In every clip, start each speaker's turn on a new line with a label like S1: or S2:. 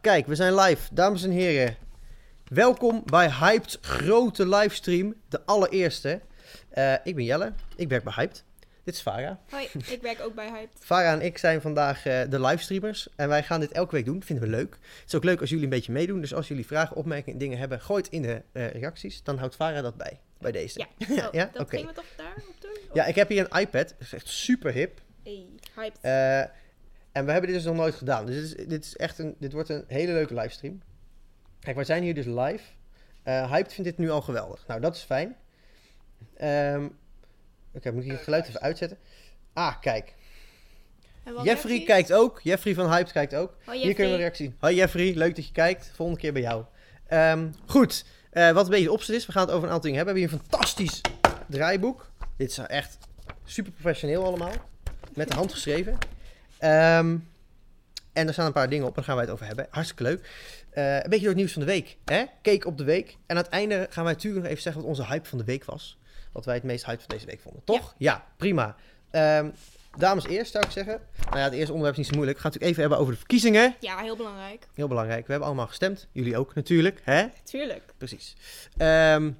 S1: Kijk, we zijn live, dames en heren. Welkom bij Hyped grote livestream, de allereerste. Eh, ik ben Jelle, ik werk bij Hyped. Dit is Farah.
S2: Hoi, ik werk ook bij Hyped.
S1: Farah en ik zijn vandaag eh, de livestreamers en wij gaan dit elke week doen. Vinden we leuk. Het is ook leuk als jullie een beetje meedoen. Dus als jullie vragen, opmerkingen, dingen hebben, gooi het in de eh, reacties. Dan houdt Farah dat bij, bij deze.
S2: Ja, oh,
S1: ja?
S2: dat
S1: Oké.
S2: gingen we toch daarop doen? Of-
S1: Ja, ik heb hier een iPad. Dat is echt super hip.
S2: Hey, Hyped.
S1: Eh, en we hebben dit dus nog nooit gedaan. Dus dit, is, dit, is echt een, dit wordt een hele leuke livestream. Kijk, wij zijn hier dus live. Eh Hyped vindt dit nu al geweldig. Nou, dat is fijn. Ehm, Oké, moet ik hier het geluid even uitzetten? Ah, kijk.
S2: En wat
S1: Jeffrey
S2: werkt
S1: kijkt ook. Jeffrey van Hyped kijkt ook.
S2: Hoi
S1: Hier kunnen we een
S2: Jeffrey.
S1: reactie zien. Hoi Jeffrey, leuk dat je kijkt. Volgende keer bij jou. Ehm, goed, Eh, wat een beetje de opzet is. We gaan het over een aantal dingen hebben. We hebben hier een fantastisch draaiboek. Dit is echt super professioneel allemaal. Met de hand geschreven. Ehm, en er staan een paar dingen op. Daar gaan wij het over hebben. Hartstikke leuk. Eh, een beetje door het nieuws van de week. Hè? Cake op de week. En aan het einde gaan wij natuurlijk nog even zeggen wat onze hype van de week was. Wat wij het meest hype van deze week vonden. Toch? Ja, prima. Ehm, dames eerst zou ik zeggen. Nou ja, het eerste onderwerp is niet zo moeilijk. We gaan het natuurlijk even hebben over de verkiezingen.
S2: Ja, heel belangrijk.
S1: Heel belangrijk. We hebben allemaal gestemd. Jullie ook natuurlijk. Hè?
S2: Tuurlijk.
S1: Precies. Ehm,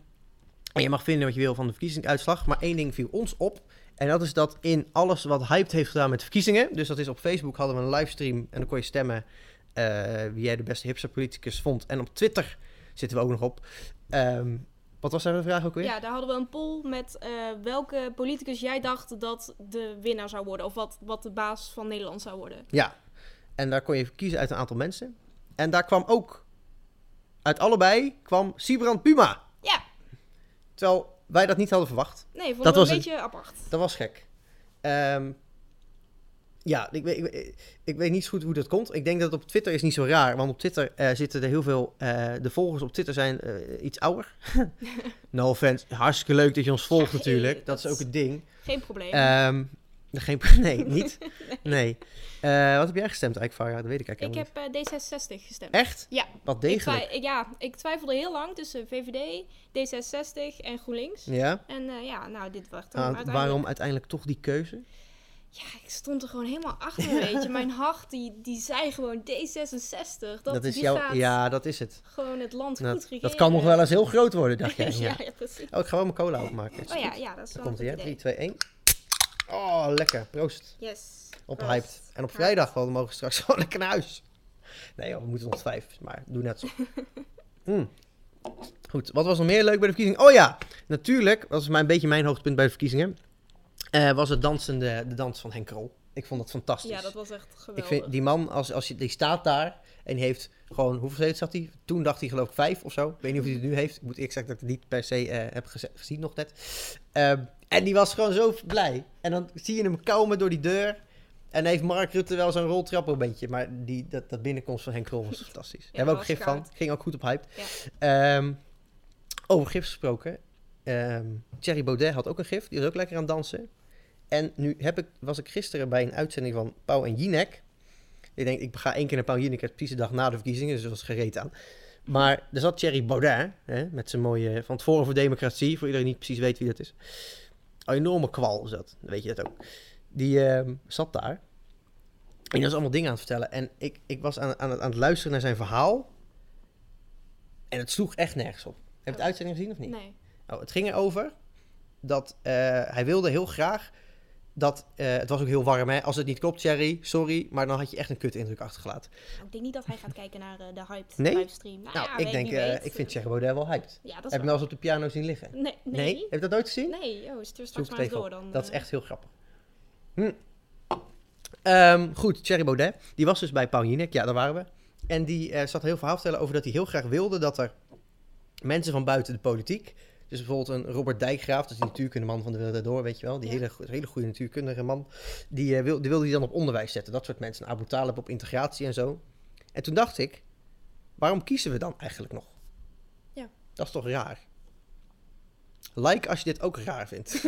S1: en je mag vinden wat je wil van de verkiezingsuitslag. Maar één ding viel ons op. En dat is dat in alles wat Hyped heeft gedaan met de verkiezingen. Dus dat is op Facebook hadden we een livestream. En dan kon je stemmen eh, wie jij de beste hipster politicus vond. En op Twitter zitten we ook nog op. Ehm, wat was daar de vraag ook weer?
S2: Ja, daar hadden we een poll met eh, welke politicus jij dacht dat de winnaar zou worden. Of wat, wat de baas van Nederland zou worden.
S1: Ja. En daar kon je kiezen uit een aantal mensen. En daar kwam ook, uit allebei, kwam Sibrand Puma.
S2: Ja,
S1: Terwijl wij dat niet hadden verwacht.
S2: nee, vond
S1: Dat
S2: ik
S1: was
S2: een
S1: het.
S2: beetje apart.
S1: Dat was gek. Ehm, ja, ik weet, ik, weet- ik weet niet zo goed hoe dat komt. Ik denk dat het op Twitter is niet zo raar. Want op Twitter eh, zitten er heel veel... eh, de volgers op Twitter zijn eh, iets ouder. no offense. Hartstikke leuk dat je ons volgt
S2: Ja,
S1: natuurlijk.
S2: hey,
S1: dat is
S2: dat
S1: ook het ding.
S2: Geen probleem.
S1: Ehm, geen, pro- nee, niet. Nee. Eh, wat heb jij gestemd eigenlijk, Farah? Dat weet ik
S2: ik
S1: eigenlijk helemaal
S2: heb eh, D66 gestemd.
S1: niet. Echt?
S2: Ja,
S1: Wat
S2: ik,
S1: degelijk.
S2: twi- ja, ik twijfelde heel lang tussen VVD, D66 en GroenLinks.
S1: Ja?
S2: En eh, ja, nou, dit werd dan
S1: Ah,
S2: uiteindelijk...
S1: Waarom uiteindelijk toch die keuze?
S2: Ja, ik stond er gewoon helemaal achter, weet je. Mijn hart, die, die zei gewoon D66. Dat,
S1: is
S2: die
S1: jouw...
S2: gaat
S1: Ja, dat is het.
S2: gewoon het land goed
S1: Dat,
S2: regeren.
S1: dat kan nog wel eens heel groot worden, dacht jij.
S2: ja,
S1: Ja.
S2: ja, precies.
S1: Oh, ik ga wel mijn cola opmaken.
S2: Oh ja, ja, dat is wel
S1: Komt
S2: een
S1: ie, hè? 3,
S2: goed
S1: 2,
S2: idee.
S1: 1. Oh, lekker. Proost.
S2: Yes.
S1: Op
S2: Proost.
S1: Hyped. En op vrijdag, want we mogen straks gewoon lekker naar huis. Nee joh, we moeten nog vijf, maar doe net zo. Mm. Goed, wat was nog meer leuk bij de verkiezingen? Oh ja, natuurlijk, dat is mijn, een beetje mijn hoogtepunt bij de verkiezingen. eh, was het dansende, de dans van Henk Krol. Ik vond dat fantastisch.
S2: Ja, dat was echt
S1: ik
S2: geweldig.
S1: vind die man, als, als je, die staat daar en die heeft gewoon, hoeveel zetels had hij? Toen dacht hij geloof ik vijf of zo. Ik weet niet of hij het nu heeft. Ik moet eerlijk zeggen dat ik het niet per se eh, heb geze- gezien nog net. Ehm, en die was gewoon zo blij. En dan zie je hem komen door die deur. En heeft Mark Rutte wel zo'n roltrapmomentje. Maar die, dat, dat binnenkomst van Henk Krol was fantastisch. Daar hebben we ook
S2: was
S1: gif van.
S2: goud.
S1: Ging ook goed op hype. Ehm, over gif gesproken. Ehm Thierry Baudet had ook een gif. Die was ook lekker aan het dansen. En nu heb ik, was ik gisteren bij een uitzending van Pauw en Jinek. Ik denk, ik ga één keer naar Pauw en Jinek. Het is precies de dag na de verkiezingen. Dus dat was gereed aan. Maar er zat Thierry Baudet. Hè, met zijn mooie Van het Forum voor Democratie. Voor iedereen die niet precies weet wie dat is. Een enorme kwal is dat. Weet je dat ook. Die ehm, zat daar. En die was allemaal dingen aan het vertellen. En ik, ik was aan, aan, het- aan het luisteren naar zijn verhaal. En het sloeg echt nergens op. Heb je de
S2: Oh.
S1: uitzending gezien of niet?
S2: Nee.
S1: Nou, het ging erover dat eh, hij wilde heel graag dat... eh, het was ook heel warm, hè. Als het niet klopt, Thierry, sorry. Maar dan had je echt een kut indruk achtergelaten.
S2: Nou, ik denk niet dat hij gaat kijken naar eh, de Hyped
S1: Nee?
S2: livestream. Nou,
S1: Nou,
S2: ja,
S1: ik
S2: weet,
S1: denk,
S2: wie
S1: eh,
S2: weet.
S1: ik vind Thierry Baudet wel hyped.
S2: Ja,
S1: Heb
S2: dat
S1: je
S2: is
S1: hem
S2: wel...
S1: wel eens op de piano zien liggen?
S2: Nee,
S1: Nee?
S2: nee.
S1: Heb je dat nooit gezien?
S2: Nee, oh,
S1: Zoek
S2: stuur straks
S1: het
S2: maar eens
S1: even
S2: door
S1: op.
S2: dan.
S1: Dat is
S2: eh.
S1: echt heel grappig. Hm. Ehm, goed, Thierry Baudet. Die was dus bij Paul Jinek. Ja, daar waren we. En die eh, zat een heel verhaal te vertellen over dat hij heel graag wilde dat er mensen van buiten de politiek... Dus bijvoorbeeld een Robert Dijkgraaf, dat is die natuurkundeman van de Wereld Door, weet je wel. Die
S2: Ja.
S1: hele, go- hele goede natuurkundige man. Die, eh, wil, die wilde hij dan op onderwijs zetten. Dat soort mensen. Abu Talib op integratie en zo. En toen dacht ik, waarom kiezen we dan eigenlijk nog?
S2: Ja.
S1: Dat is toch raar? Like als je dit ook raar vindt.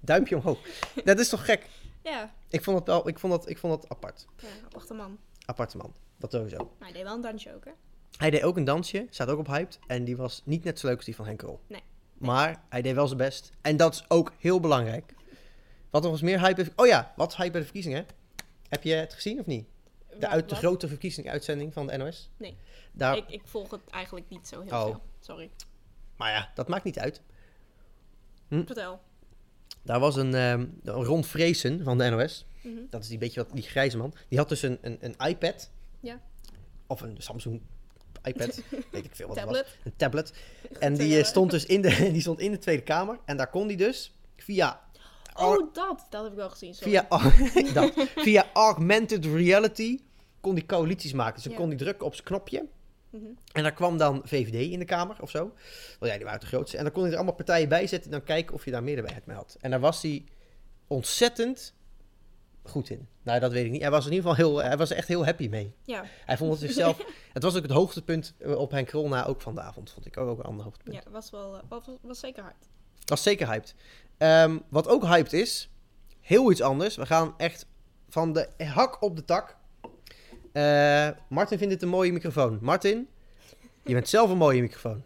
S1: Duimpje omhoog. Dat is toch gek?
S2: Ja,
S1: Ik vond dat wel, ik vond dat, ik vond dat apart.
S2: ja aparte man.
S1: Aparte man. Dat sowieso.
S2: Maar hij deed wel een dansje ook, hè?
S1: Hij deed ook een dansje, staat ook op hyped. En die was niet net zo leuk als die van Henk Krol.
S2: Nee.
S1: Maar hij deed wel zijn best. En dat is ook heel belangrijk. Wat nog eens meer hype heeft. Oh ja, wat hype bij de verkiezingen? Heb je het gezien of niet? de,
S2: Ja,
S1: uit, de
S2: wat?
S1: grote verkiezingsuitzending van de NOS?
S2: Nee.
S1: Daar,
S2: Ik, ik volg het eigenlijk niet zo heel
S1: Oh.
S2: veel. Sorry.
S1: Maar ja, dat maakt niet uit. Hm?
S2: Vertel.
S1: Daar was een, ehm Ron Vreesen van de NOS.
S2: Mhm.
S1: Dat is die beetje wat, die grijze man. Die had dus een, een, een iPad.
S2: Ja.
S1: Of een Samsung iPad. weet ik veel wat het was.
S2: Tablet.
S1: Een tablet. En die eh,
S2: Vertel.
S1: stond dus in de, die stond in de Tweede Kamer. En daar kon die dus via...
S2: Oh, dat. Dat heb ik wel gezien. Sorry.
S1: Via, dat, via augmented reality kon die coalities maken. Dus dan
S2: Ja.
S1: kon die drukken op zijn knopje.
S2: Mhm.
S1: En daar kwam dan VVD in de Kamer of zo. Want ja, die waren de grootste. En dan kon hij er allemaal partijen bij zetten en dan kijken of je daar meerderheid mee had. En daar was hij ontzettend goed in. Nou, dat weet ik niet. Hij was in ieder geval heel, hij was er echt heel happy mee.
S2: Ja,
S1: Hij vond het zichzelf... het was ook het hoogtepunt eh, op Henk Krol na ook van de avond, vond ik. Ook, ook een ander hoogtepunt.
S2: ja was, wel, eh, was, was zeker hard.
S1: Dat is zeker hyped. Ehm, wat ook hyped is, heel iets anders. We gaan echt van de hak op de tak. Eh, Martin vindt dit een mooie microfoon. Martin, je bent zelf een mooie microfoon.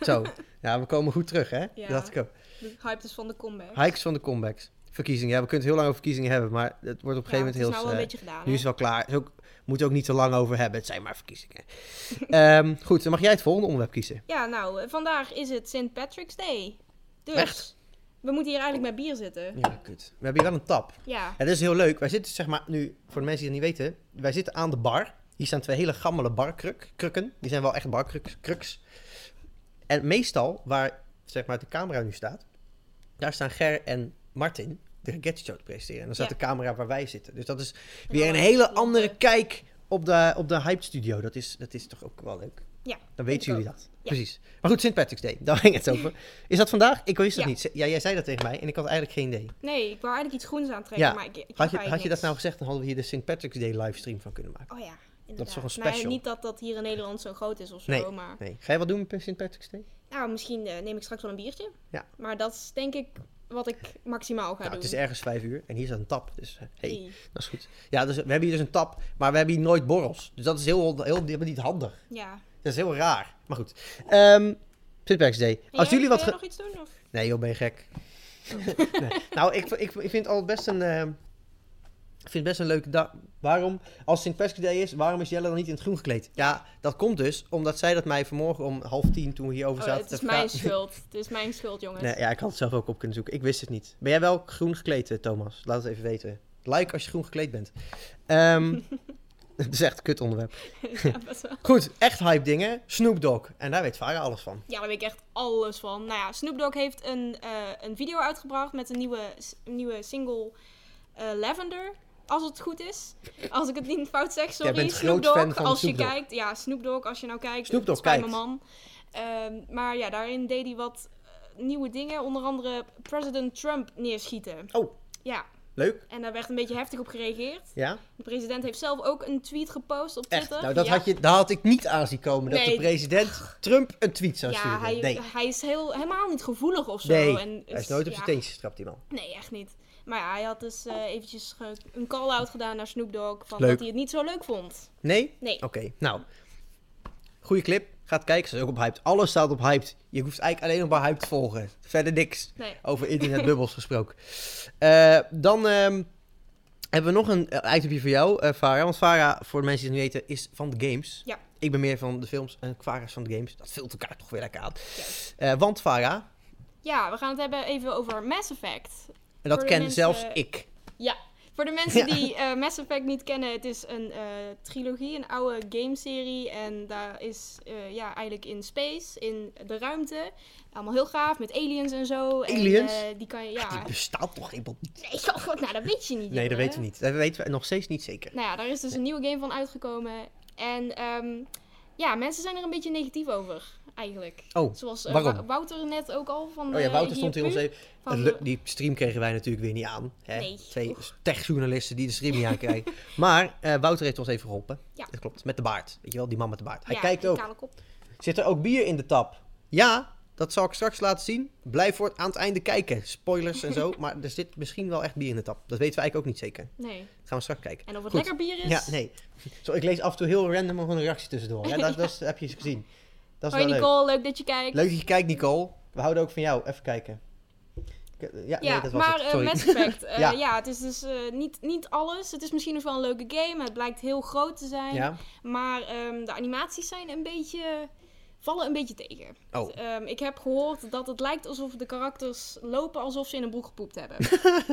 S1: Zo, ja, we komen goed terug, hè?
S2: Ja.
S1: Dat dacht ik ook.
S2: De hype dus van de comeback.
S1: Hikes van de comebacks. Verkiezingen, ja, we kunnen het heel lang over verkiezingen hebben, maar het wordt op een gegeven moment
S2: het is
S1: heel...
S2: nou wel
S1: eh,
S2: een beetje gedaan.
S1: nu
S2: hè?
S1: is het wel klaar. Is ook, moet er ook niet te lang over hebben, het zijn maar verkiezingen. Ehm, goed, dan mag jij het volgende onderwerp kiezen.
S2: Ja, nou, eh, vandaag is het St. Patrick's Day. Dus
S1: Echt?
S2: we moeten hier eigenlijk met bier zitten.
S1: Ja, kut. We hebben hier wel een tap.
S2: Ja,
S1: Het is heel leuk. Wij zitten zeg maar nu, voor de mensen die het niet weten, wij zitten aan de bar. Hier staan twee hele gammele barkrukken. Die zijn wel echt barkruks. En meestal, waar zeg maar de camera nu staat, daar staan Ger en Martin de Gadget Show te presenteren. En dan staat
S2: Ja.
S1: de camera waar wij zitten. Dus dat is
S2: dan
S1: weer een
S2: is
S1: hele
S2: het nog,
S1: andere
S2: eh,
S1: kijk op de, op de Hype Studio. Dat is, dat is toch ook wel leuk.
S2: Ja,
S1: Dan
S2: vind
S1: weten
S2: ik
S1: jullie
S2: ook.
S1: dat.
S2: Ja.
S1: Precies. Maar goed, St. Patrick's Day. Daar ging het over. Is dat vandaag? Ik wist het
S2: Ja.
S1: niet. Z- Ja, jij zei dat tegen mij en ik had eigenlijk geen idee.
S2: nee, ik wou eigenlijk iets groens aantrekken,
S1: Ja.
S2: maar ik, ik heb
S1: Had je, had
S2: eigenlijk
S1: je dat nou
S2: niks.
S1: gezegd, dan hadden we hier de St. Patrick's Day livestream van kunnen maken.
S2: Oh ja, inderdaad.
S1: toch een
S2: Nou,
S1: special?
S2: niet dat dat hier in Nederland zo groot is of zo,
S1: Nee.
S2: maar...
S1: Nee. Ga je wat doen met St. Patrick's Day?
S2: Nou, misschien eh, neem ik straks wel een biertje.
S1: Ja.
S2: Maar dat is denk ik wat ik maximaal ga
S1: Nou,
S2: doen.
S1: het is ergens vijf uur en hier staat een tap. Dus eh, hey,
S2: Hey.
S1: dat is goed. Ja, dus we hebben hier dus een tap, maar we hebben hier nooit borrels. Dus dat is heel, heel, helemaal niet handig.
S2: Ja.
S1: Dat is heel raar. Maar goed. Ehm St. Patrick's Day.
S2: En
S1: Als
S2: jij,
S1: jullie wat...
S2: wil jij
S1: ge-
S2: nog iets doen? Of?
S1: Nee joh, ben je gek. nee. Nou, ik, ik, ik vind het al best een... ehm, ik vind het best een leuke dag. Waarom, als St. Patrick's Day is, waarom is Jelle dan niet in het groen gekleed? Ja, dat komt dus omdat zij dat mij vanmorgen om half tien, toen we hierover
S2: Oh,
S1: zaten...
S2: het is
S1: te
S2: mijn
S1: praten-
S2: schuld. Het is mijn schuld, jongens.
S1: Nee, ja, ik had het zelf ook op kunnen zoeken. Ik wist het niet. Ben jij wel groen gekleed, eh, Thomas? Laat het even weten. Like als je groen gekleed bent. Ehm, het is echt een kut onderwerp.
S2: ja, best wel.
S1: Goed, echt hype dingen. Snoop Dogg. En daar weet Vara alles van.
S2: Ja, daar weet ik echt alles van. Nou ja, Snoop Dogg heeft een, eh, een video uitgebracht met een nieuwe, een nieuwe single eh, Lavender. Als het goed is. Als ik het niet fout zeg, sorry.
S1: bent
S2: Snoop
S1: groot
S2: Dogg,
S1: fan van
S2: als
S1: Snoop
S2: je
S1: Dogg.
S2: kijkt. Ja, Snoop Dogg, als je nou kijkt.
S1: Snoop Dogg
S2: het spijt me,
S1: kijkt.
S2: man. Ehm, maar ja, daarin deed hij wat eh, nieuwe dingen. Onder andere president Trump neerschieten.
S1: Oh.
S2: Ja,
S1: Leuk.
S2: en daar werd een beetje heftig op gereageerd.
S1: Ja?
S2: De president heeft zelf ook een tweet gepost op
S1: Echt.
S2: Twitter.
S1: Nou, dat
S2: Ja.
S1: had je, daar had ik niet aan zien komen. Dat
S2: Nee.
S1: de president Trump een tweet zou
S2: Ja,
S1: sturen.
S2: hij,
S1: nee.
S2: hij is heel, helemaal niet gevoelig of zo.
S1: Nee,
S2: en
S1: hij is
S2: het-
S1: nooit op
S2: ja.
S1: zijn teentjes getrapt, die man.
S2: Nee, echt niet. Maar ja, hij had dus eh, eventjes ge- een call-out gedaan naar Snoop Dogg. Van
S1: Leuk.
S2: dat hij het niet zo leuk vond.
S1: Nee?
S2: Nee.
S1: Oké, nou. Goeie clip. Gaat kijken. Ze is ook op hyped. Alles staat op hyped. Je hoeft eigenlijk alleen nog maar hyped te volgen. Verder niks.
S2: Nee.
S1: Over internetbubbels gesproken. Eh, dan ehm, hebben we nog een eh, itemje voor jou, eh Farah. Want Farah, voor de mensen die het niet weten, is van de games.
S2: Ja.
S1: Ik ben meer van de films en Farah is van de games. Dat vult elkaar toch weer lekker aan. Eh, want Farah,
S2: Ja, we gaan het hebben even over Mass Effect.
S1: en
S2: Voor
S1: dat
S2: de
S1: ken
S2: mensen-
S1: zelfs ik.
S2: Voor de mensen
S1: Ja.
S2: die eh, Mass Effect niet kennen, het is een eh, trilogie, een oude gameserie. En daar is eh, ja, eigenlijk in space, in de ruimte. Allemaal heel gaaf, met aliens en zo.
S1: Aliens?
S2: En, eh, die kan je, ja...
S1: Die bestaat toch helemaal niet?
S2: Nee, oh god, nou dat weet je
S1: Nee,
S2: niet.
S1: dat
S2: jongen.
S1: weten we niet. Dat weten we nog steeds niet zeker.
S2: Nou ja, daar is dus een nieuwe game van uitgekomen. En ehm, ja, mensen zijn er een beetje negatief over, eigenlijk.
S1: Oh,
S2: Zoals eh,
S1: waarom?
S2: Wou- Wouter net ook al van.
S1: Oh ja,
S2: eh,
S1: Wouter stond hier
S2: hier
S1: ons
S2: pu,
S1: even.
S2: van
S1: Het
S2: de-
S1: lu- die stream kregen wij natuurlijk weer niet aan. Hè?
S2: Nee.
S1: Twee techjournalisten die de stream niet aan krijgen. Maar eh, Wouter heeft ons even geholpen.
S2: Ja.
S1: Dat klopt. Met de baard. Weet je wel, die man met de baard. Hij
S2: ja,
S1: kijkt
S2: die
S1: ook.
S2: kale kop.
S1: Zit er ook bier in de tap? Ja, dat zal ik straks laten zien. Blijf voor het aan het einde kijken. Spoilers en zo. Maar er zit misschien wel echt bier in de tap. Dat weten we eigenlijk ook niet zeker.
S2: Nee.
S1: Dat gaan we straks kijken.
S2: En of het
S1: Goed.
S2: lekker bier is.
S1: Ja, nee. Zo, ik lees af en toe heel random gewoon een reactie tussendoor. Ja, dat, dat is- heb je eens gezien. Dat is
S2: Hoi
S1: wel leuk.
S2: Nicole, leuk dat je kijkt.
S1: Leuk dat je kijkt, Nicole. We houden ook van jou. Even kijken. Ja, nee, dat was
S2: maar
S1: het.
S2: eh,
S1: Sorry.
S2: Mass Effect. eh,
S1: Ja.
S2: ja. het is dus eh, niet, niet alles. Het is misschien nog wel een leuke game. Het blijkt heel groot te zijn.
S1: ja?
S2: Maar ehm, de animaties zijn een beetje... vallen een beetje tegen.
S1: Oh,
S2: Ehm, ik heb gehoord dat het lijkt alsof de karakters lopen alsof ze in een broek gepoept hebben.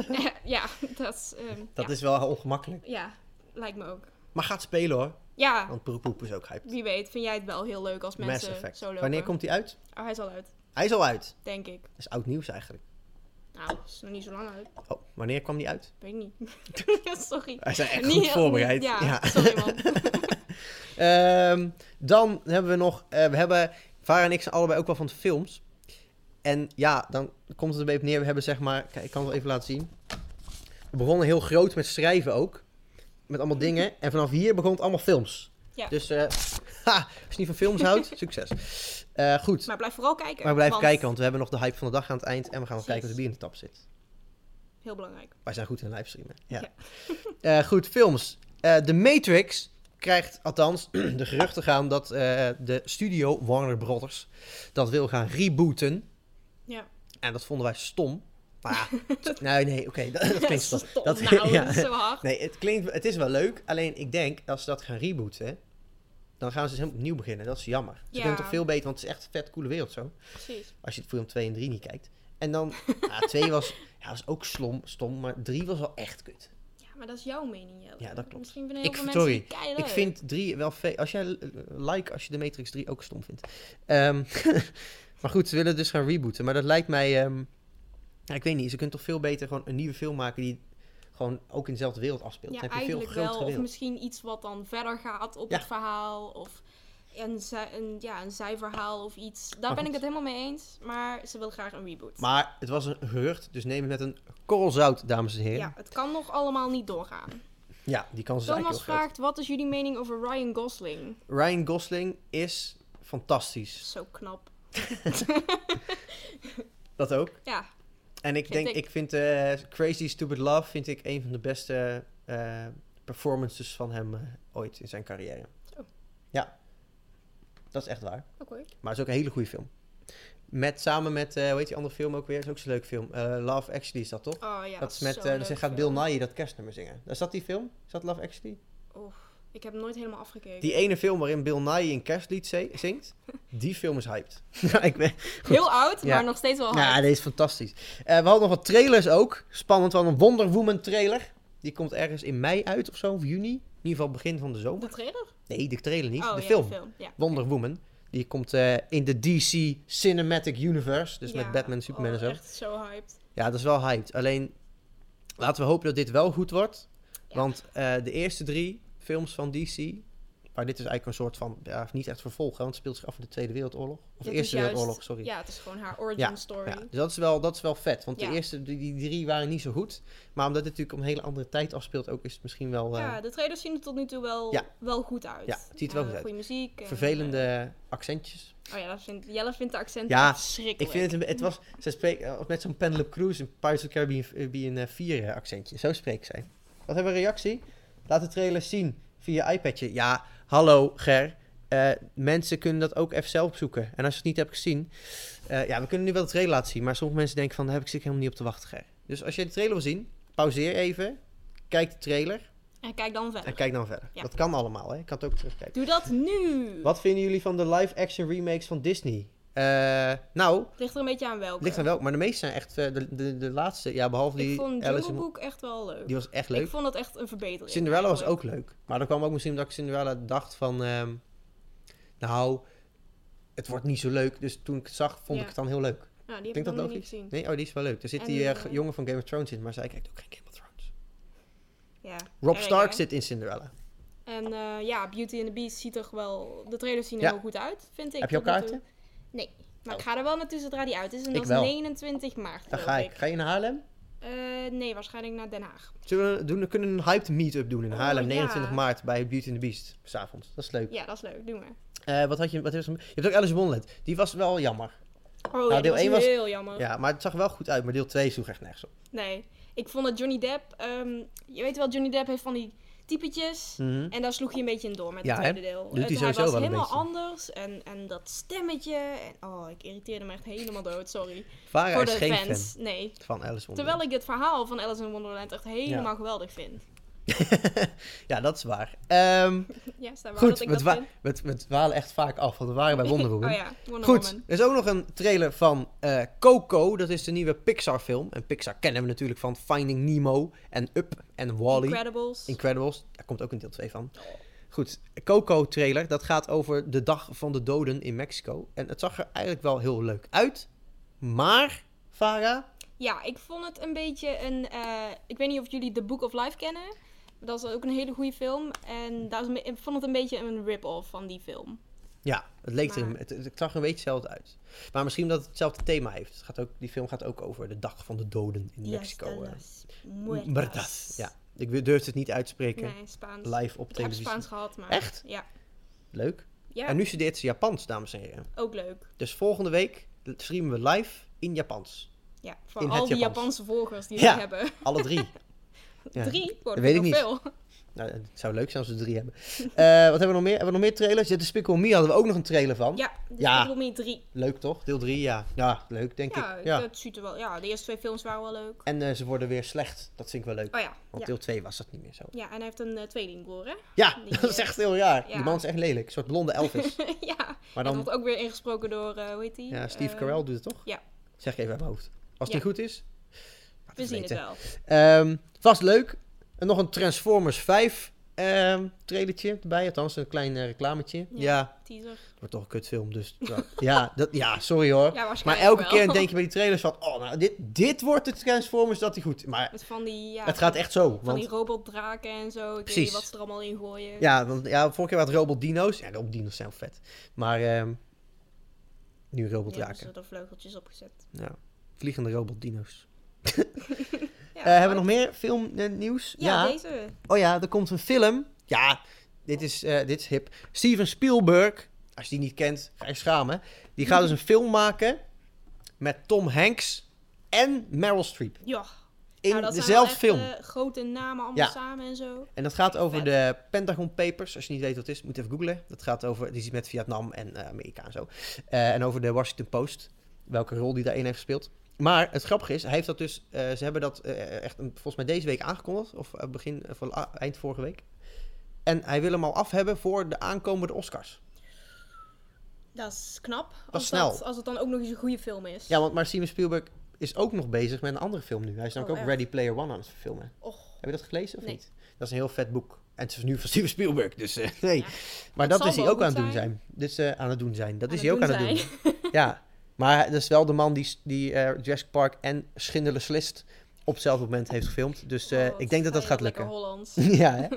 S2: Eh, ja, dat is... ehm,
S1: dat
S2: ja.
S1: is wel ongemakkelijk.
S2: ja, lijkt me ook.
S1: Maar gaat spelen hoor.
S2: Ja,
S1: Want Poep is ook hyped.
S2: wie eh, weet vind jij het wel heel leuk als
S1: Mass
S2: mensen
S1: Effect.
S2: zo lopen.
S1: Wanneer komt die uit?
S2: Oh, hij is al uit,
S1: Hij is al uit.
S2: denk ik.
S1: Dat is oud nieuws eigenlijk.
S2: Nou, is nog niet zo lang uit.
S1: Oh, wanneer kwam die uit?
S2: Weet ik niet. sorry.
S1: Hij zijn Eh, echt
S2: Niet
S1: goed
S2: heel-
S1: voorbereid.
S2: Ja,
S1: Ja.
S2: sorry man.
S1: Ehm, dan hebben we nog... eh, we hebben... Vara en ik zijn allebei ook wel van films. En ja, dan komt het een beetje op neer. We hebben zeg maar... Kijk, ik kan het wel even laten zien. We begonnen heel groot met schrijven ook. Met allemaal dingen. En vanaf hier begon het allemaal films.
S2: Mhm. Ja.
S1: Dus eh, ha, als je niet van films houdt, succes. Eh, goed.
S2: Maar blijf vooral kijken.
S1: Maar blijf
S2: want-
S1: kijken, want we hebben nog de hype van de dag aan het eind. En we gaan nog
S2: Precies.
S1: kijken of de bier in de tap zit.
S2: Heel belangrijk.
S1: Wij zijn goed in livestreamen. Ja.
S2: Ja.
S1: Eh, goed, films. Eh The Matrix krijgt, althans, de geruchten gaan dat eh, de studio Warner Brothers dat wil gaan rebooten.
S2: Ja.
S1: En dat vonden wij stom. Maar ja, t- nee, nee, oké, dat, dat klinkt stom.
S2: Stom,
S1: Dat-
S2: nou,
S1: ja.
S2: dat is zo hard.
S1: Nee, het, klinkt, het is wel leuk, alleen ik denk, als ze dat gaan rebooten, dan gaan ze dus helemaal opnieuw beginnen. Dat is jammer. Ze
S2: Ja.
S1: kunnen toch veel beter, want het is echt een vet coole wereld zo.
S2: Precies.
S1: Als je het film 2 en 3 niet kijkt. En dan, ja, 2 was, ja, was ook slom, stom, maar 3 was wel echt kut.
S2: Ja, maar dat is jouw mening, Jelle.
S1: Ja, dat klopt.
S2: Misschien vinden heel
S1: Ik-
S2: veel
S1: sorry,
S2: mensen die keileuk.
S1: Ik vind 3 wel fe- Als jij eh, like als je de Matrix 3 ook stom vindt. Ehm, maar goed, ze willen dus gaan rebooten. Maar dat lijkt mij. ehm, ja, ik weet niet, ze kunnen toch veel beter gewoon een nieuwe film maken die gewoon ook in dezelfde wereld afspeelt.
S2: ja,
S1: Dan heb je veel
S2: eigenlijk
S1: grotere
S2: wel. Of
S1: wereld.
S2: misschien iets wat dan verder gaat op
S1: Ja.
S2: het verhaal. Of een, zij, een, ja, een zijverhaal of iets. Daar
S1: Maar
S2: ben
S1: goed.
S2: ik het helemaal mee eens. Maar ze wil graag een reboot.
S1: Maar het was een gerucht, dus neem het met een korrel zout, dames en heren.
S2: ja,
S1: Ja,
S2: het kan nog allemaal niet doorgaan.
S1: die kans is
S2: Thomas
S1: eigenlijk heel groot.
S2: vraagt, wat is jullie mening over Ryan Gosling?
S1: Ryan Gosling is fantastisch.
S2: Zo knap.
S1: Dat ook.
S2: Ja,
S1: En ik
S2: Vind
S1: denk, ik,
S2: ik.
S1: vind eh, Crazy Stupid Love vind ik een van de beste eh, performances van hem eh, ooit in zijn carrière.
S2: Zo.
S1: Ja, dat is echt waar.
S2: oké.
S1: Maar het is ook een hele goede film. Met, samen met, eh hoe heet die andere film ook weer? Dat is ook zo'n leuk film. Eh, Love Actually is dat toch?
S2: Oh ja,
S1: dat is met,
S2: zo'n
S1: eh,
S2: leuk
S1: ze gaat Bill
S2: film.
S1: Nighy dat kerstnummer zingen. Is dat die film? Is dat Love Actually?
S2: Ik heb nooit helemaal afgekeken.
S1: Die ene film waarin Bill Nighy een kerstlied ze- zingt, die film is hyped. ja, ik ben,
S2: Heel oud,
S1: Ja.
S2: maar nog steeds wel
S1: Ja,
S2: hard.
S1: Nou, deze is fantastisch. Eh, we hadden nog wat trailers ook. Spannend, wel een Wonder Woman trailer. Die komt ergens in mei uit of zo, of juni. In ieder geval begin van de zomer.
S2: De trailer?
S1: Nee, de trailer niet,
S2: oh,
S1: de
S2: ja,
S1: film.
S2: de film. Ja.
S1: Wonder Woman. Die komt eh, in de DC Cinematic Universe. Dus met
S2: Ja.
S1: Batman, Superman
S2: Oh,
S1: en zo.
S2: echt zo hyped.
S1: Ja, dat is wel hyped. Alleen, laten we hopen dat dit wel goed wordt.
S2: Ja.
S1: Want eh, de eerste drie films van DC... Maar dit is eigenlijk een soort van... Ja, niet echt vervolg, hè, want het speelt zich af in de Tweede Wereldoorlog. Of de
S2: Dit
S1: Eerste
S2: is juist-
S1: Wereldoorlog, sorry.
S2: Ja, het is gewoon haar origin
S1: Ja,
S2: story.
S1: Ja, dus dat is wel, dat is wel vet. Want
S2: Ja.
S1: de eerste die, die drie waren niet zo goed. Maar omdat dit natuurlijk om een hele andere tijd afspeelt, ook is het misschien wel eh,
S2: Ja, de trailers zien er tot nu toe wel,
S1: Ja.
S2: wel goed uit.
S1: Ja, het ziet er wel
S2: Eh,
S1: goed uit.
S2: Goede muziek. en,
S1: vervelende accentjes.
S2: eh, oh ja, dat vindt, Jelle vindt de accent
S1: Ja,
S2: verschrikkelijk.
S1: Ik vind het, een be- het was, ze spreekt eh, met zo'n Penelope Cruz in Pirates of the Caribbean eh, bij een eh, 4 eh, accentje. Zo spreekt zij. Wat hebben we een reactie? Laat de trailer zien via je iPadje. Ja, hallo Ger. Eh, mensen kunnen dat ook even zelf opzoeken. En als je het niet hebt gezien, eh, ja, we kunnen nu wel de trailer laten zien. Maar sommige mensen denken van, daar heb ik zit helemaal niet op te wachten, Ger. Dus als je de trailer wil zien, pauzeer even. Kijk de trailer.
S2: En kijk dan verder.
S1: En kijk dan verder.
S2: Ja.
S1: Dat kan allemaal, hè? Ik kan het ook terugkijken.
S2: Doe dat nu!
S1: Wat vinden jullie van de live-action remakes van Disney? Eh, nou,
S2: Ligt er een beetje aan welke.
S1: ligt aan welk, maar de meeste zijn echt eh, de, de, de laatste. Ja, behalve
S2: Ik
S1: die
S2: vond
S1: Alice
S2: Jungle
S1: in
S2: Book echt wel leuk.
S1: Die was echt leuk.
S2: Ik vond dat echt een verbetering.
S1: Cinderella was
S2: eigenlijk.
S1: ook leuk. Maar dat kwam ook misschien omdat ik Cinderella dacht van... ehm, nou, het wordt niet zo leuk. Dus toen ik het zag, vond
S2: Ja.
S1: ik het dan heel leuk.
S2: Nou, die
S1: Denk
S2: heb ik
S1: dat
S2: nog
S1: logisch?
S2: niet gezien.
S1: Nee, oh, die is wel leuk. Er zit
S2: En,
S1: die eh,
S2: eh, Oh,
S1: jongen van Game of Thrones in, maar zij kijkt ook geen Game of Thrones.
S2: Ja.
S1: Rob
S2: Erg,
S1: Stark
S2: hè?
S1: zit in Cinderella.
S2: En eh, ja, Beauty and the Beast ziet er wel... De trailers zien er
S1: Ja.
S2: heel goed uit, vind ik.
S1: Heb je al
S2: tot nu toe.
S1: kaarten?
S2: Nee, maar
S1: Oh.
S2: ik ga er wel naartoe zodra die uit is. En
S1: Ik
S2: dat is
S1: wel.
S2: 29 maart,
S1: Daar
S2: geloof
S1: ga ik. Ga je naar Haarlem?
S2: Eh, nee, waarschijnlijk naar Den Haag.
S1: Zullen we doen, we kunnen een hyped meet-up doen in
S2: Oh,
S1: Haarlem,
S2: ja.
S1: 29 maart, bij Beauty and the Beast, s'avonds. Dat is leuk.
S2: Ja, dat is leuk. Doe maar.
S1: Eh, wat had je, wat was, je hebt ook Alice in Wonderland. Die was wel jammer.
S2: Oh,
S1: Nou,
S2: ja,
S1: deel
S2: deel was
S1: één was-
S2: heel jammer.
S1: Ja, maar het zag er wel goed uit, maar deel 2 sloeg echt nergens op.
S2: Nee, ik vond dat Johnny Depp... ehm, je weet wel, Johnny Depp heeft van die typetjes.
S1: Mhm.
S2: En daar sloeg hij een beetje in door met
S1: Ja,
S2: het
S1: hè?
S2: tweede deel.
S1: Doet hij
S2: Het- hij
S1: sowieso
S2: was
S1: wel een
S2: helemaal
S1: beetje.
S2: anders. En, en dat stemmetje. En, oh, ik irriteerde me echt helemaal dood, sorry.
S1: Vara
S2: Voor
S1: is
S2: de
S1: geen
S2: fans, nee.
S1: fan van Alice Wonderland.
S2: Terwijl ik het verhaal van Alice in Wonderland echt helemaal geweldig vind.
S1: ja, dat is waar. Ehm,
S2: Ja, staat waar dat
S1: goed,
S2: ik
S1: we,
S2: dat
S1: dwa-
S2: vind.
S1: we, we dwalen echt vaak af, want we waren bij Wonder Woman.
S2: Oh ja, Wonder
S1: Goed,
S2: Woman.
S1: er is ook nog een trailer van eh, Coco. Dat is de nieuwe Pixar-film. En Pixar kennen we natuurlijk van Finding Nemo en Up en Wally.
S2: Incredibles. Oh.
S1: Incredibles. Daar komt ook een deel 2 van. Goed, Coco-trailer. Dat gaat over de dag van de doden in Mexico. En het zag er eigenlijk wel heel leuk uit. Maar, Vara,
S2: Ja, ik vond het een beetje een. eh, ik weet niet of jullie The Book of Life kennen. Dat is ook een hele goede film. En daar is een be- ik vond het een beetje een rip-off van die film.
S1: ja, het leek er,
S2: Maar-
S1: het, het zag er een beetje hetzelfde uit. Maar misschien dat het hetzelfde thema heeft. Het gaat ook, die film gaat ook over de dag van de doden in Mexico. eh. Muertas. Ja, ik durf het niet uitspreken.
S2: Nee, Spaans.
S1: Live op
S2: ik heb
S1: televisie.
S2: Spaans gehad, maar.
S1: Echt?
S2: Ja.
S1: Leuk.
S2: Ja,
S1: En nu studeert ze Japans, dames en heren.
S2: ook leuk.
S1: Dus volgende week streamen we live in Japans.
S2: Ja, voor
S1: In het
S2: al die
S1: Japans.
S2: Japanse volgers die
S1: Ja.
S2: we hebben.
S1: Alle drie. Ja.
S2: Drie, worden
S1: weet
S2: weet
S1: ik niet.
S2: veel.
S1: Nou, het zou leuk zijn als we drie hebben. Eh, wat hebben we nog meer? Hebben we nog meer trailers? Ja, de Spickle Me hadden we ook nog een trailer van.
S2: Ja, dus
S1: Ja.
S2: ik bedoel niet drie.
S1: Leuk toch? Deel drie, ja. Ja, leuk denk
S2: Ja,
S1: ik. Ja.
S2: dat ziet er wel. Ja, de eerste twee films waren wel leuk.
S1: En eh, ze worden weer slecht. Dat vind ik wel leuk.
S2: Oh ja.
S1: Want
S2: Ja,
S1: deel 2 was dat niet meer zo.
S2: ja en hij heeft een eh, tweelingbroer, hè?
S1: Ja,
S2: Die,
S1: dat is
S2: eh,
S1: echt heel raar.
S2: ja.
S1: Die man is echt lelijk. Een soort blonde Elvis.
S2: ja.
S1: Maar
S2: Dat
S1: dan,
S2: wordt ook weer ingesproken door, eh, hoe heet die?
S1: ja, Steve
S2: Eh,
S1: Carell doet het toch?
S2: ja.
S1: Zeg ik even uit mijn hoofd. Als het
S2: Ja.
S1: niet goed is, laat
S2: We
S1: het
S2: zien het
S1: weten.
S2: wel.
S1: Ehm, het was leuk. En nog een Transformers 5 ehm trailertje erbij. Althans, een klein eh, reclametje. Ja.
S2: Ja. Teaser.
S1: het wordt toch een kutfilm. Dus ja, dat, ja, sorry hoor.
S2: Ja, waarschijnlijk
S1: maar elke
S2: wel.
S1: keer denk je bij die trailers van... Oh, nou, dit, dit wordt de Transformers dat hij goed... Maar
S2: Met van die, ja,
S1: het gaat echt zo.
S2: van
S1: Want,
S2: die robotdraken en zo. Ik weet
S1: Precies.
S2: niet wat ze er allemaal in gooien.
S1: ja, want ja, vorige keer waren het robot dino's. Ja, robot dino's zijn wel vet. Maar ehm, nu robot
S2: Ja, dus ze
S1: raken.
S2: hebben er vleugeltjes opgezet.
S1: Ja. Vliegende robot dino's.
S2: Ja, Oh,
S1: Eh, hebben we nog meer filmnieuws?
S2: Ja, deze.
S1: Oh ja, er komt een film. Ja, dit is, eh, dit is hip. Steven Spielberg, als je die niet kent, ga je schamen. Die gaat dus een film maken met Tom Hanks en Meryl Streep.
S2: Ja.
S1: In
S2: nou, dat zijn wel
S1: dezelfde
S2: echt,
S1: film.
S2: eh, grote namen allemaal
S1: Ja.
S2: samen en zo.
S1: En dat gaat over
S2: vet.
S1: de Pentagon Papers. Als je niet weet wat het is, moet even googlen. Dat gaat over, die is met Vietnam en eh, Amerika en zo. Eh, en over de Washington Post. Welke rol die daarin heeft gespeeld. Maar het grappige is, hij heeft dat dus, eh, ze hebben dat eh, echt een- volgens mij deze week aangekondigd. Of eh, begin, of, eh, eind vorige week. En hij wil hem al af hebben voor de aankomende Oscars.
S2: Dat is knap. Dat
S1: is snel.
S2: als het dan ook nog eens een goede film is.
S1: Ja, want maar Steven Spielberg is ook nog bezig met een andere film nu. Hij is namelijk
S2: Oh,
S1: ook
S2: echt?
S1: Ready Player One aan het verfilmen.
S2: Och,
S1: Heb je dat gelezen of
S2: Nee.
S1: niet? Dat is een heel vet boek. En het is nu van Steven Spielberg, dus eh, nee.
S2: Ja,
S1: maar
S2: dat
S1: dat is
S2: zal
S1: hij
S2: wel
S1: ook aan het
S2: goed
S1: doen
S2: zijn.
S1: zijn. Dus eh, aan het doen zijn. Dat
S2: Aan
S1: is
S2: het
S1: hij ook aan
S2: Ah, doen
S1: het doen. ja, maar dat is wel de man die, s- die eh, Jurassic Park en Schindler's List op hetzelfde moment heeft gefilmd. Dus eh,
S2: oh, wat
S1: ik denk dat dat
S2: fijn,
S1: gaat
S2: lekker
S1: lukken.
S2: Hollands.
S1: ja, hè?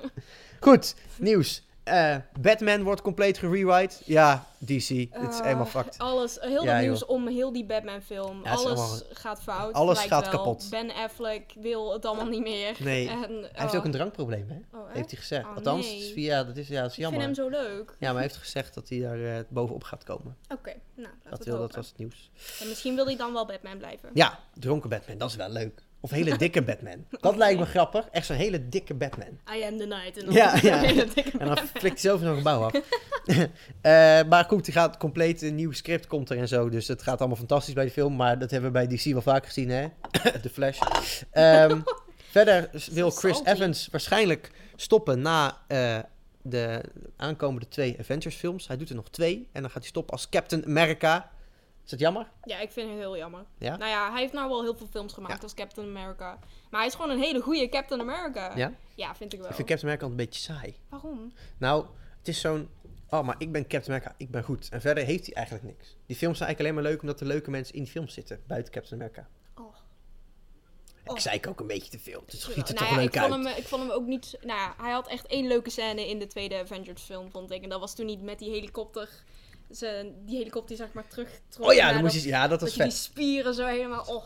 S1: Goed, nieuws. Eh, Batman wordt compleet gerewrite. Ja, DC, het is
S2: Ah,
S1: helemaal fucked.
S2: Alles, heel
S1: Ja,
S2: dat
S1: joh.
S2: nieuws om heel die Batman-film.
S1: Ja, het is
S2: alles
S1: allemaal-
S2: gaat fout.
S1: Alles
S2: lijkt
S1: gaat
S2: wel.
S1: kapot.
S2: Ben Affleck wil het allemaal niet meer.
S1: Nee,
S2: En,
S1: hij heeft ook een drankprobleem, hè? Heeft hij gezegd.
S2: Oh,
S1: Althans,
S2: nee.
S1: het is via, dat is, ja, dat is
S2: Ik vind
S1: jammer.
S2: hem zo leuk.
S1: Ja, maar hij heeft gezegd dat hij daar eh, bovenop gaat komen.
S2: Oké, nou, laten
S1: Dat,
S2: we
S1: wil, dat
S2: het hopen.
S1: was het nieuws.
S2: En misschien wil hij dan wel Batman blijven.
S1: Ja, dronken Batman, dat is wel leuk. Of hele dikke Batman. Dat lijkt me grappig. Echt zo'n hele dikke Batman.
S2: I am the night. En dan
S1: Ja, ja.
S2: Dat ik-
S1: En dan flikt hij zelf nog een gebouw af. Eh, maar goed, die gaat compleet een nieuw script komt er en zo. Dus het gaat allemaal fantastisch bij de film. Maar dat hebben we bij DC wel vaak gezien, hè? De Flash. Ehm, verder wil Chris
S2: salty.
S1: Evans waarschijnlijk stoppen na eh, de aankomende twee Avengers films. Hij doet er nog twee. En dan gaat hij stoppen als Captain America. Is dat jammer?
S2: ja, ik vind het heel jammer.
S1: Ja?
S2: Nou ja, hij heeft nou wel heel veel films gemaakt als Captain America. Maar hij is gewoon een hele goede Captain America.
S1: Ja?
S2: Ja, vind ik wel.
S1: Ik vind Captain America altijd een beetje saai.
S2: Waarom?
S1: Nou, het is zo'n... Oh, maar ik ben Captain America, ik ben goed. En verder heeft hij eigenlijk niks. Die films zijn eigenlijk alleen maar leuk omdat er leuke mensen in die films zitten. Buiten Captain America.
S2: Oh.
S1: Ik
S2: Oh.
S1: zei ook een beetje te veel. Dus schiet er
S2: nou
S1: toch
S2: ja,
S1: leuk
S2: ik
S1: uit.
S2: vond, hem, ik vond hem ook niet... Nou ja, hij had echt één leuke scène in de tweede Avengers film, vond ik. En dat was toen niet met die helikopter... Ze, die helikopter die zeg maar terugtrok.
S1: Oh ja,
S2: naar
S1: dan moest
S2: dat-
S1: je, ja, dat
S2: dat
S1: was
S2: je die
S1: vet.
S2: spieren zo helemaal... Oh.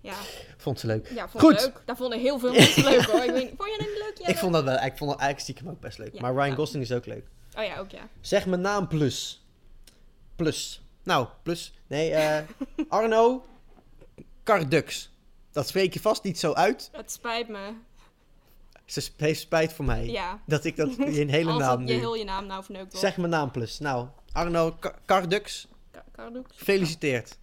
S2: Ja,
S1: Vond ze leuk.
S2: ja vond ik
S1: Goed.
S2: leuk. Daar vonden heel veel mensen leuk hoor. Ik weet, niet- vond je dat niet leuk? Jelle?
S1: Ik vond dat wel. Ik vond dat eigenlijk stiekem ook best leuk.
S2: Ja,
S1: maar Ryan
S2: ja.
S1: Gosling is ook leuk.
S2: Oh ja, ook ja.
S1: Zeg mijn naam plus. Plus. Nou, plus. Nee, eh Arno Cardux. Dat spreek je vast niet zo uit.
S2: Het spijt me.
S1: Ze sp- heeft spijt voor mij.
S2: Ja.
S1: Dat ik dat je hele
S2: Als
S1: naam
S2: dat
S1: nu.
S2: je heel je naam nou verneukt wordt.
S1: Zeg mijn naam plus. Nou, Arno Ka- Kardux,
S2: Ka- Kardoeks.
S1: gefeliciteerd.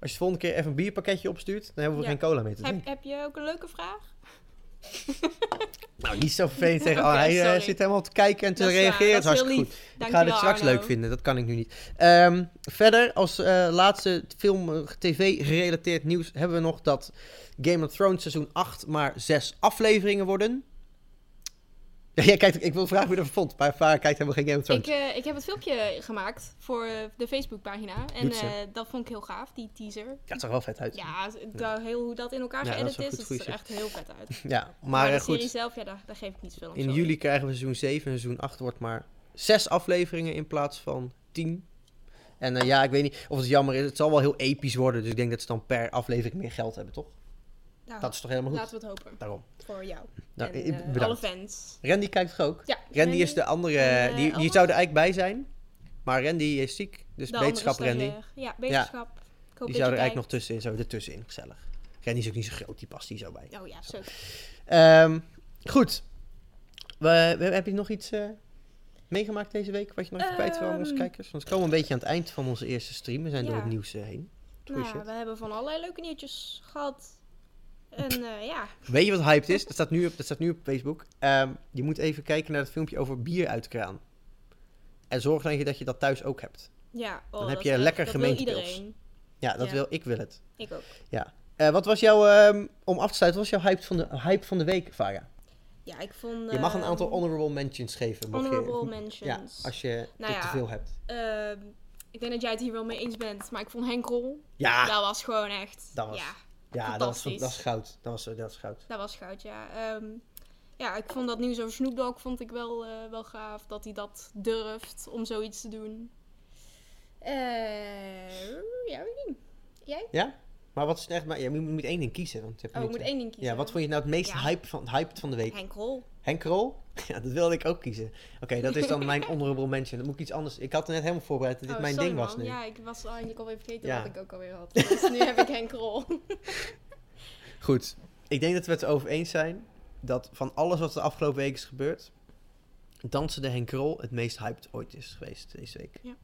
S1: Als je de volgende keer even een bierpakketje opstuurt, dan hebben we
S2: Ja.
S1: geen cola meer te
S2: Heb,
S1: drinken.
S2: heb je ook een leuke vraag?
S1: Nou, niet zo vervelend tegen.
S2: Oké,
S1: oh, hij eh,
S2: sorry.
S1: zit helemaal te kijken en te
S2: Dat is waar,
S1: reageren.
S2: dat is
S1: hartstikke
S2: heel
S1: goed.
S2: Dank
S1: ik ga het straks leuk vinden, dat kan ik nu niet. Ehm, verder, als eh, laatste film, eh, tv-gerelateerd nieuws, hebben we nog dat Game of Thrones seizoen 8 maar 6 afleveringen worden. Ja, jij kijkt, ik wil vragen wie dat vond, maar Farah kijkt helemaal geen Game of Thrones.
S2: Ik, eh, ik heb het filmpje gemaakt voor eh, de Facebookpagina. En
S1: Doet ze.
S2: eh, dat vond ik heel gaaf, die teaser.
S1: Dat zag er wel vet uit. Ja,
S2: Ja, da- heel, hoe dat in elkaar
S1: Ja, dat is
S2: geëdit
S1: een
S2: is,
S1: goed
S2: dat ziet er
S1: goeie
S2: echt heel vet uit.
S1: maar,
S2: Maar de
S1: eh, goed,
S2: serie zelf, ja, daar, daar geef ik niets veel om.
S1: in
S2: sorry.
S1: juli krijgen we seizoen 7 en seizoen 8 wordt maar 6 afleveringen in plaats van 10. En eh, ja, ik weet niet of het jammer is, het zal wel heel episch worden, dus ik denk dat ze dan per aflevering meer geld hebben, toch?
S2: Nou,
S1: Dat is toch helemaal goed?
S2: Laten we het hopen.
S1: Daarom.
S2: Voor jou.
S1: Nou,
S2: en,
S1: ik-
S2: eh,
S1: bedankt.
S2: alle fans.
S1: Randy kijkt toch ook?
S2: Ja,
S1: Randy is de andere,
S2: en, eh,
S1: die, die
S2: Elmas?
S1: zou er eigenlijk bij zijn. Maar Randy is ziek, dus
S2: de andere eh,
S1: wetenschap Randy.
S2: stagiair. Ja, wetenschap.
S1: Die
S2: Ik hoop dat
S1: zou er
S2: je
S1: eigenlijk nog tussenin, zo ertussenin, gezellig. Randy is ook niet zo groot, die past hier zo bij.
S2: kijkt. Oh ja, zo.
S1: Ehm, goed. We, we- heb je nog iets eh, meegemaakt deze week wat je nog even kwijt wil aan onze
S2: Ehm.
S1: kijkers? Want we komen een beetje aan het eind van onze eerste stream. We zijn door
S2: Ja.
S1: het nieuws eh, heen. Goeie
S2: Nou,
S1: shit.
S2: we hebben van allerlei leuke nieuwtjes gehad. En eh, ja,
S1: Weet je wat hyped is? Dat staat nu op, dat staat nu op Facebook. Ehm, je moet even kijken naar het filmpje over bier uit de kraan. En zorg dan je dat je dat thuis ook hebt.
S2: ja. oh,
S1: Dan heb
S2: dat
S1: je
S2: is echt-
S1: lekker
S2: dat wil
S1: gemeentepils.
S2: iedereen.
S1: Ja, dat
S2: Ja.
S1: wil ik wil het.
S2: Ik ook.
S1: Eh, wat was jouw, ehm, om af te sluiten, wat was jouw hype van de, hype van de week, Vara?
S2: Ja, ik vond...
S1: Je mag een
S2: ehm,
S1: aantal honorable mentions geven. mocht je-
S2: honorable
S1: Ja,
S2: mentions.
S1: als je
S2: Nou
S1: er
S2: ja.
S1: te veel hebt.
S2: Ehm, ik denk dat jij het hier wel mee eens bent, maar ik vond Henk Rol,
S1: Ja,
S2: dat was gewoon echt...
S1: Ah. Dat was-
S2: Ja,
S1: ja dat, was, dat was
S2: fantastisch.
S1: goud. Dat was, dat was goud.
S2: dat was goud, ja. Ehm, ja, ik vond dat nieuws over Snoop Dogg vond ik wel, eh, wel gaaf, dat hij dat durft om zoiets te doen. Eh, ja, weet ik niet. Jij?
S1: Ja? Maar wat is echt, maar, ja, je moet- je moet één ding kiezen. Want je hebt
S2: Oh,
S1: er
S2: ik
S1: nu
S2: moet
S1: twee.
S2: één ding kiezen.
S1: Ja, wat vond je nou het meest
S2: Ja.
S1: hype van, hyped van de week?
S2: Henk Rol.
S1: Henk Krol? Ja, dat wilde ik ook kiezen. Oké, dat is dan mijn honorable mention. Dan moet ik iets anders. Ik had het net helemaal voorbereid dat dit
S2: Oh,
S1: mijn
S2: sorry,
S1: ding was
S2: man.
S1: nu.
S2: Ja, ik was eigenlijk alweer vergeten
S1: Ja.
S2: wat ik ook alweer had. Dus nu heb ik Henk Rol.
S1: Goed. Ik denk dat we het over eens zijn dat van alles wat de afgelopen week is gebeurd, dansen de Henk Krol het meest hyped ooit is geweest deze week.
S2: Ja.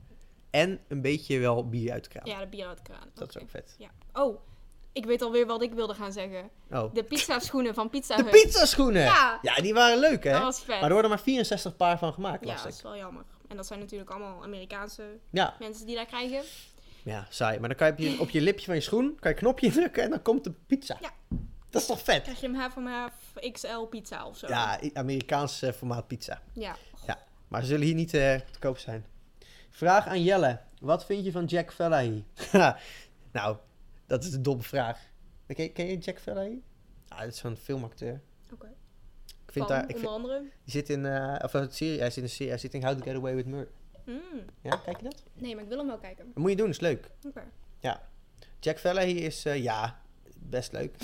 S1: En een beetje wel bier uit de kraan.
S2: Ja, de bier uit de kraan.
S1: Dat
S2: Oké.
S1: is ook vet.
S2: Oh, ik weet alweer wat ik wilde gaan zeggen.
S1: Oh.
S2: De pizza schoenen van Pizza
S1: De
S2: Hut.
S1: pizzaschoenen!
S2: Ja. Oh,
S1: die waren leuk, hè?
S2: Dat
S1: Maar
S2: was vet.
S1: er worden maar 64 paar van gemaakt,
S2: Ja,
S1: las
S2: dat
S1: ik.
S2: is wel jammer. En dat zijn natuurlijk allemaal Amerikaanse
S1: Ja,
S2: mensen die daar krijgen.
S1: ja, saai. Maar dan kan je op je, op je lipje van je schoen kan je een knopje drukken en dan komt de pizza.
S2: Ja.
S1: Dat is toch vet?
S2: Krijg je hem half om half XL pizza of zo.
S1: Ja, I- Amerikaans eh, formaat pizza.
S2: Ja.
S1: Maar ze zullen hier niet eh, te koop zijn. Vraag aan Jelle. Wat vind je van Jack Fellahy? nou, dat is een domme vraag. Ken, ken je Jack Fellahy? Ah, dat is zo'n filmacteur.
S2: Oké.
S1: Ik
S2: Van,
S1: vind daar... Ik
S2: onder
S1: vind,
S2: andere.
S1: die zit in... eh, of een serie, hij zit in een serie. Hij zit in How to Get Away with Murder.
S2: Mm.
S1: Ja, kijk je dat?
S2: Nee, maar ik wil hem wel kijken.
S1: Dat moet je doen, is leuk.
S2: Oké.
S1: Jack Fellahy is... eh, ja, best leuk.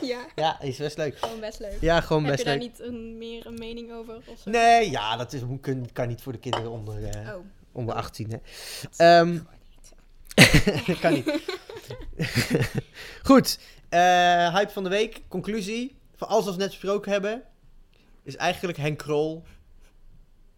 S2: ja,
S1: ja, hij is best leuk.
S2: gewoon best leuk.
S1: Ja, gewoon
S2: heb
S1: best
S2: je daar
S1: leuk.
S2: niet een, meer een mening over? Of zo?
S1: Nee, ja, dat is, kun- kan niet voor de kinderen onder, eh,
S2: Oh.
S1: onder 18, hè. Ehm, kan niet. Goed. eh, hype van de week. Conclusie. Van alles wat we net besproken hebben. Is eigenlijk Henk Krol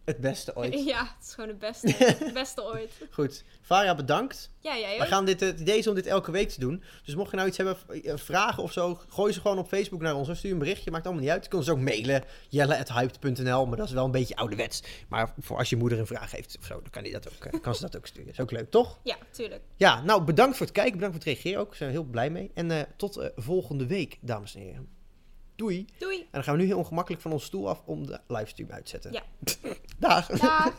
S1: het beste ooit.
S2: Ja, het is gewoon het beste. Het beste ooit.
S1: Goed. Vara, bedankt.
S2: Ja, jij
S1: We
S2: ook.
S1: gaan dit, het idee is om dit elke week te doen. Dus mocht je nou iets hebben, v- eh, vragen of zo, gooi ze gewoon op Facebook naar ons. Of Stuur een berichtje, maakt allemaal niet uit. Je kunt ons ook mailen, jelle.hyped.nl. Maar dat is wel een beetje ouderwets. Maar voor als je moeder een vraag heeft of zo, dan kan, die dat ook, eh, kan ze dat ook sturen. Is ook leuk, toch?
S2: Ja, tuurlijk.
S1: Ja, nou bedankt voor het kijken, bedankt voor het reageren ook. Daar zijn we heel blij mee. En eh, tot eh, volgende week, dames en heren. Doei. En
S2: Doei.
S1: dan gaan we nu heel ongemakkelijk van onze stoel af om de livestream uit te zetten.
S2: Ja.
S1: Dag.
S2: Daag.